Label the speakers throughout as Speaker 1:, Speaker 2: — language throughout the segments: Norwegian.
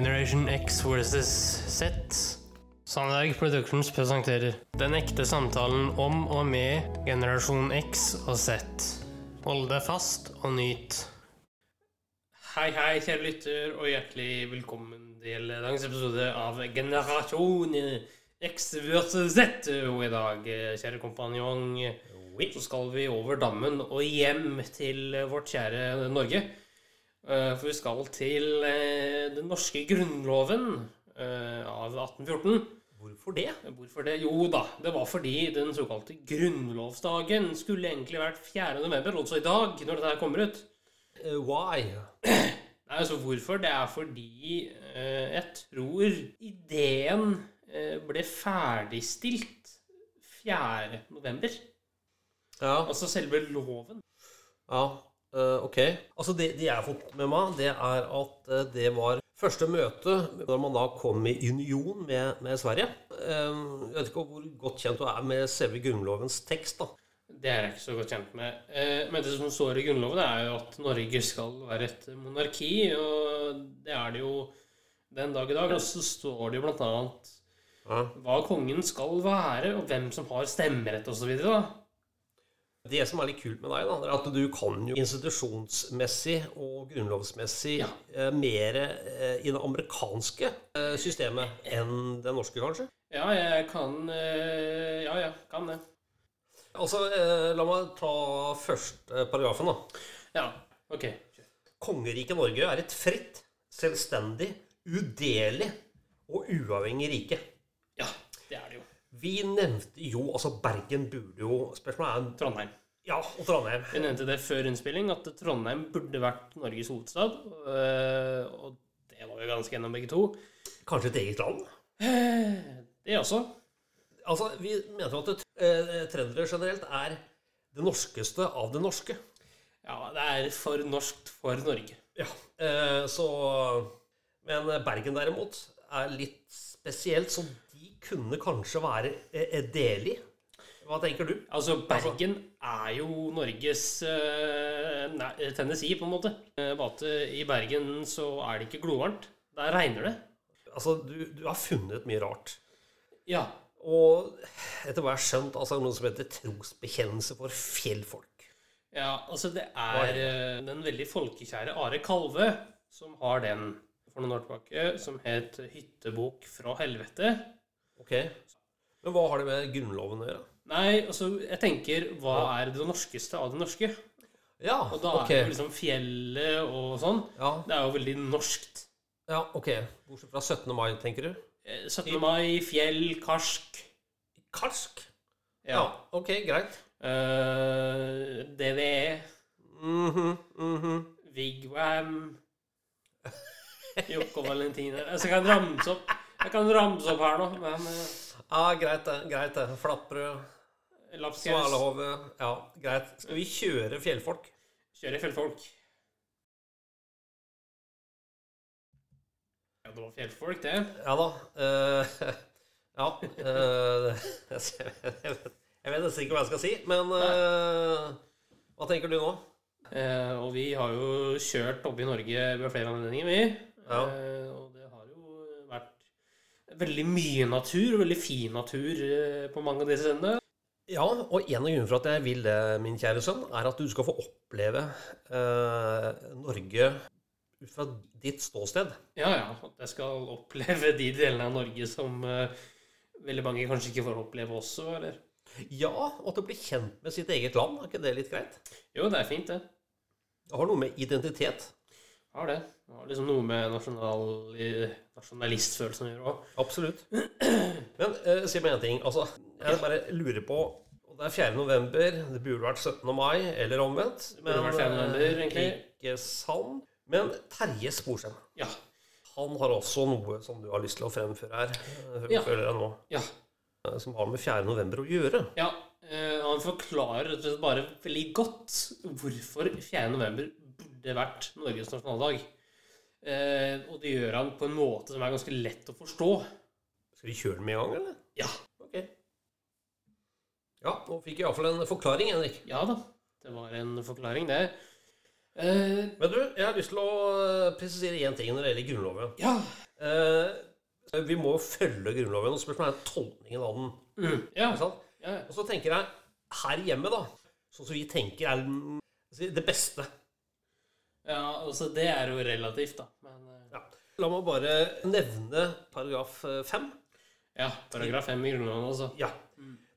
Speaker 1: Generation X versus Z. Sandberg Productions presenterer Den ekte samtalen om og med generasjon X og Z. Hold deg fast og nyt. Hei, hei, kjære lytter, og hjertelig velkommen til dagens episode av Generasjon X versus Z. Og i dag, kjære kompanjong, så skal vi over dammen og hjem til vårt kjære Norge. Eh, For vi skal til eh, den norske grunnloven eh, av 1814.
Speaker 2: Hvorfor det?
Speaker 1: Hvorfor det? Jo da, det var fordi den såkalte grunnlovsdagen skulle egentlig vært 4. november, altså i dag, når dette her kommer ut.
Speaker 2: Eh, why?
Speaker 1: Nei, altså hvorfor? Det er fordi eh, jeg tror ideen eh, ble ferdigstilt 4. november.
Speaker 2: Ja,
Speaker 1: Altså selve loven.
Speaker 2: ja eh, ok. Altså det, det jeg har fått med meg, det er at eh, det var første møte da man da kom i union med, med Sverige. Eh, jeg vet ikke hvor godt kjent du er med selve grunnlovens tekst, da.
Speaker 1: Det er jeg ikke så godt kjent med. Eh, men det som står i Grunnloven, er jo at Norge skal være et monarki, og det er det jo den dag i dag. Og så står det jo blant annet
Speaker 2: Ja.
Speaker 1: hva kongen skal være, og hvem som har stemmerett osv. Ja,
Speaker 2: Det som er litt kult med deg, da, det er at du kan jo institusjonsmessig og grunnlovsmessig
Speaker 1: Ja.
Speaker 2: eh, mer eh, i det amerikanske eh, systemet enn det norske, kanskje?
Speaker 1: jeg kan eh, Ja, jeg kan det.
Speaker 2: Altså, eh, La meg ta først eh, paragrafen. da.
Speaker 1: Ja, ok.
Speaker 2: Kongeriket Norge er et fritt, selvstendig, udelig og uavhengig rike.
Speaker 1: Ja, det er det jo.
Speaker 2: Vi nevnte jo altså Bergen burde jo Spørsmålet er
Speaker 1: Trondheim.
Speaker 2: Ja, og Trondheim.
Speaker 1: Vi nevnte det før innspilling, at Trondheim burde vært Norges hovedstad. øh, Og det var vi ganske gjennom begge to.
Speaker 2: Kanskje et eget land?
Speaker 1: Det også.
Speaker 2: Altså, Vi mener jo at det, eh, trendere generelt er det norskeste av det norske.
Speaker 1: Ja, det er for norskt for Norge.
Speaker 2: Ja, eh, så Men Bergen derimot er litt spesielt, så de kunne kanskje være eh, delig. Hva tenker du?
Speaker 1: Altså, Bergen er jo Norges øh, nei, Tennessee, på en måte. Eh, Bare at i Bergen så er det ikke glovarmt. Der regner det.
Speaker 2: Altså, du, du har funnet mye rart.
Speaker 1: Ja.
Speaker 2: Og etter hva jeg har skjønt, altså, er det noe som heter trosbekjennelse for fjellfolk.
Speaker 1: ja altså, det er eh, den veldig folkekjære Are Kalve som har den for noen år tilbake, eh, som het 'Hyttebok fra helvete'.
Speaker 2: Ok. Men hva har det med Grunnloven å gjøre?
Speaker 1: Nei, altså, jeg tenker Hva er det norskeste av det norske?
Speaker 2: Ja,
Speaker 1: Og da
Speaker 2: ok.
Speaker 1: er det jo liksom fjellet og sånn.
Speaker 2: Ja,
Speaker 1: Det er jo veldig norskt.
Speaker 2: ja, ok. Bortsett fra 17. mai, tenker du?
Speaker 1: Eh, 17. mai, fjell, karsk.
Speaker 2: Karsk? Ja,
Speaker 1: Ja.
Speaker 2: ok, greit.
Speaker 1: Eh, DVE,
Speaker 2: Mhm, mhm.
Speaker 1: Wigwam Jokke og Valentine. Altså, jeg kan ramse opp Jeg kan ramse opp her nå, men eh,
Speaker 2: Ja, greit det. greit det. Flapperød,
Speaker 1: lapskaus
Speaker 2: Svalehove Ja, greit. Skal vi kjøre fjellfolk?
Speaker 1: Kjører fjellfolk. Ja, det var fjellfolk, det.
Speaker 2: Ja da. eh, ja. eh, jeg, vet, jeg vet nesten ikke hva jeg skal si, men eh, hva tenker du nå?
Speaker 1: Eh, og vi har jo kjørt oppe i Norge ved flere anledninger, vi.
Speaker 2: Ja.
Speaker 1: Eh, og det har jo vært veldig mye natur, veldig fin natur eh, på mange av disse stedene.
Speaker 2: Ja, og en av grunnene for at jeg vil det, min kjære sønn, er at du skal få oppleve eh, Norge ut fra ditt ståsted.
Speaker 1: Ja, ja. At jeg skal oppleve de delene av Norge som eh, veldig mange kanskje ikke får oppleve også, eller?
Speaker 2: Ja, og at du blir kjent med sitt eget land. Er ikke det litt greit?
Speaker 1: Jo, det er fint, det.
Speaker 2: Det har noe med identitet.
Speaker 1: Har det. Det har liksom noe med nasjonal, eh, nasjonalistfølelsen å gjøre òg.
Speaker 2: Absolutt. Men eh, si meg en ting. Altså, jeg bare lurer på og Det er 4. november, det burde vært 17. mai, eller omvendt.
Speaker 1: burde vært 4. november, egentlig.
Speaker 2: eh, Ikke sant? Men Terje Sporsem,
Speaker 1: Ja.
Speaker 2: han har også noe som du har lyst til å fremføre her, eh,
Speaker 1: Ja.
Speaker 2: føler jeg nå,
Speaker 1: Ja.
Speaker 2: eh, som har med 4. november å gjøre.
Speaker 1: ja. Eh, han forklarer rett og slett bare veldig godt hvorfor 4. november burde vært Norges nasjonaldag. Eh, og det gjør han på en måte som er ganske lett å forstå.
Speaker 2: Skal vi kjøre den med en gang, eller?
Speaker 1: Ja.
Speaker 2: Ok. Ja, nå fikk jeg iallfall en forklaring, Henrik.
Speaker 1: Ja da. Det var en forklaring, det. Eh,
Speaker 2: eh, Men du, jeg har lyst til å eh, presisere én ting når det gjelder Grunnloven.
Speaker 1: ja.
Speaker 2: Eh, vi må jo følge Grunnloven. og Spørsmålet er tolkningen av den.
Speaker 1: mm, Ja.
Speaker 2: ikke sant?
Speaker 1: ja.
Speaker 2: Og så tenker jeg her hjemme, da Sånn som vi tenker er den- altså, det beste.
Speaker 1: ja, altså det er jo relativt, da. Men eh,
Speaker 2: Ja. La meg bare nevne paragraf eh, fem.
Speaker 1: ja, paragraf 5 i Grunnloven også.
Speaker 2: Ja.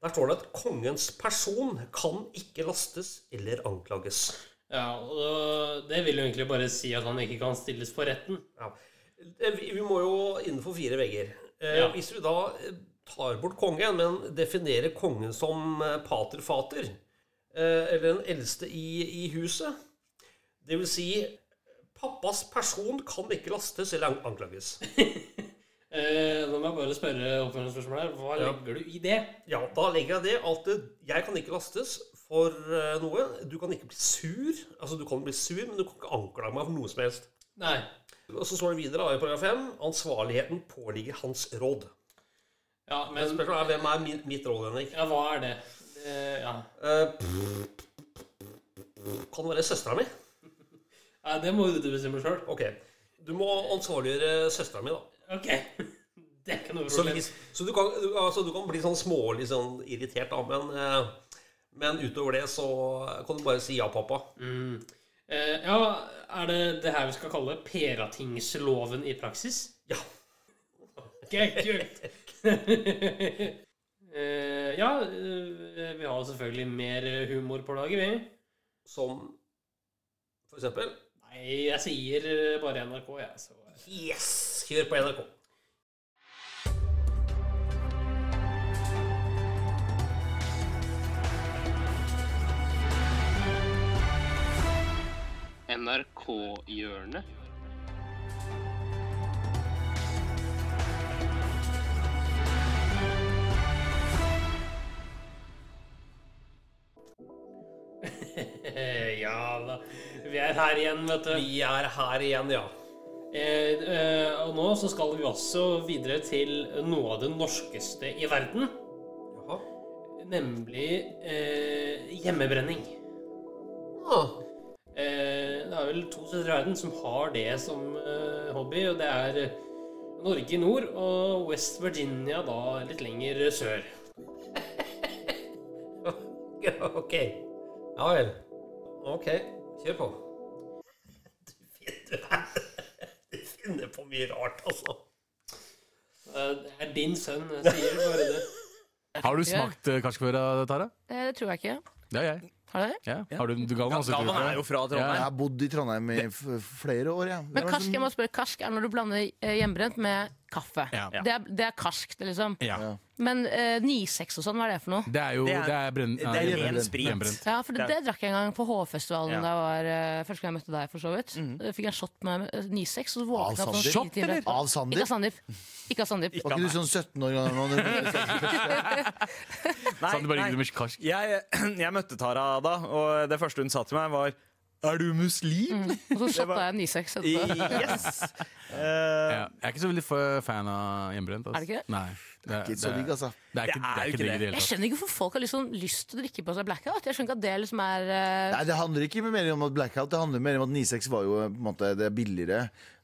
Speaker 2: Der står det at kongens person kan ikke lastes eller anklages.
Speaker 1: Ja, og det vil jo egentlig bare si at han ikke kan stilles for retten.
Speaker 2: Ja. Eh, Vi vi må jo innenfor fire vegger. Eh,
Speaker 1: Ja.
Speaker 2: Hvis vi da eh, tar bort kongen, men definerer kongen som eh, pater fater, eh, eller den eldste i, i huset Det vil si Pappas person kan ikke lastes eller an- anklages.
Speaker 1: Eh, nå må jeg bare spørre oppfølgingsspørsmålet her. Hva
Speaker 2: Ja.
Speaker 1: legger du i det?
Speaker 2: Ja, Da legger jeg det at eh, jeg kan ikke lastes for eh, noe. Du kan ikke bli sur. Altså, du kan bli sur, men du kan ikke anklage meg for noe som helst.
Speaker 1: Nei.
Speaker 2: Og så står det videre da, i paragraf 5 ansvarligheten påligger hans råd.
Speaker 1: Ja, men
Speaker 2: Spørsmålet er hvem er min, mitt råd, Henrik?
Speaker 1: Ja, hva er det? Eh, ja.
Speaker 2: Eh, kan det være søstera mi?
Speaker 1: ja, det må jo du bestemme sjøl.
Speaker 2: Ok. Du må ansvarliggjøre søstera mi, da.
Speaker 1: Ok. Det er ikke noe
Speaker 2: Så,
Speaker 1: problem.
Speaker 2: hvis, så du, kan, du, altså, du kan bli sånn smålig sånn irritert, da, men, eh, men utover det så kan du bare si ja, pappa.
Speaker 1: Mm. Eh, ja, er det det her vi skal kalle Peratingsloven i praksis?
Speaker 2: Ja.
Speaker 1: Ok, kult! eh, ja, eh, vi har jo selvfølgelig mer humor på laget, vi.
Speaker 2: Som for eksempel
Speaker 1: Nei, jeg sier eh, bare NRK, jeg. Ja, så
Speaker 2: Yes! Kjør på NRK.
Speaker 1: NRK-hjørnet. eh, ja da. Vi er her igjen, vet du.
Speaker 2: Vi er her igjen, ja.
Speaker 1: Eh, eh, og nå så skal vi også videre til noe av det norskeste i verden.
Speaker 2: Jaha.
Speaker 1: Nemlig eh, hjemmebrenning.
Speaker 2: Ah,
Speaker 1: Eh, det er vel to steder i verden som har det som eh, hobby, og det er eh, Norge i nord og West Virginia da litt lenger sør.
Speaker 2: ok. Ja vel. Ok. Kjør på. Du finner, du finner på mye rart, altså.
Speaker 1: Eh, det er din sønn, jeg sier bare det.
Speaker 3: Har du smakt eh, karskføre, Tara?
Speaker 4: Eh, Det tror jeg ikke.
Speaker 3: Det har jeg.
Speaker 4: Har dere det?
Speaker 3: Ja. Har du, du ga meg masse
Speaker 5: Galvan
Speaker 3: prøver.
Speaker 5: er jo fra Trondheim.
Speaker 6: Jeg har bodd i Trondheim i f flere år, jeg.
Speaker 4: Men
Speaker 6: Det har vært
Speaker 4: karsk,
Speaker 6: sånn-
Speaker 4: jeg må spørre, karsk er når du blander eh, hjemmebrent med kaffe.
Speaker 3: Ja.
Speaker 4: Det, er, det er karskt, liksom.
Speaker 3: Ja.
Speaker 6: Ja.
Speaker 4: Men eh, 9-6 og sånn, hva er det for noe?
Speaker 3: Det er jo
Speaker 5: Det
Speaker 3: Det
Speaker 5: er-
Speaker 3: er, brenn,
Speaker 5: Det er
Speaker 3: nei,
Speaker 5: ren
Speaker 6: hjemmebrent.
Speaker 5: sprit.
Speaker 3: Hjemmebrent.
Speaker 4: Ja, for det,
Speaker 5: Det
Speaker 4: det drakk jeg en gang på H-festivalen
Speaker 5: Ja.
Speaker 4: da jeg var, eh, første gang jeg møtte deg, for så vidt. Da fikk jeg en shot med eh, 9-6, og så våkna jeg
Speaker 6: Av
Speaker 4: opp sånn
Speaker 6: Sander?
Speaker 4: fire timer. etterpå.
Speaker 6: Av Sander?
Speaker 4: Ikke av Sandeep. Ikke av Sandeep.
Speaker 5: Ikke
Speaker 6: Var
Speaker 5: av
Speaker 6: ikke du
Speaker 5: meg.
Speaker 6: sånn 17 år gammel? da?
Speaker 5: Nei,
Speaker 3: Sånn, du bare
Speaker 5: nei.
Speaker 3: gikk med karsk.
Speaker 5: Jeg, jeg møtte Tara da, og det første hun sa til meg, var Er du muslim?
Speaker 4: Og så shotta
Speaker 5: var-
Speaker 4: jeg 9-6 etterpå.
Speaker 5: Yes!
Speaker 3: Ja. Jeg er ikke så veldig f- fan av hjemmebrent. ass.
Speaker 4: Er det ikke det?
Speaker 3: Nei. Det er,
Speaker 6: Ikke så digg, altså.
Speaker 3: det er ikke, det er ikke digg i det hele
Speaker 4: Jeg
Speaker 3: tatt.
Speaker 4: skjønner ikke hvorfor folk har liksom lyst til å drikke på seg blackout. Jeg skjønner ikke at det liksom er eh,
Speaker 6: Nei, det handler ikke mer om at blackout, det handler mer om at 96 var jo på en måte det er billigere.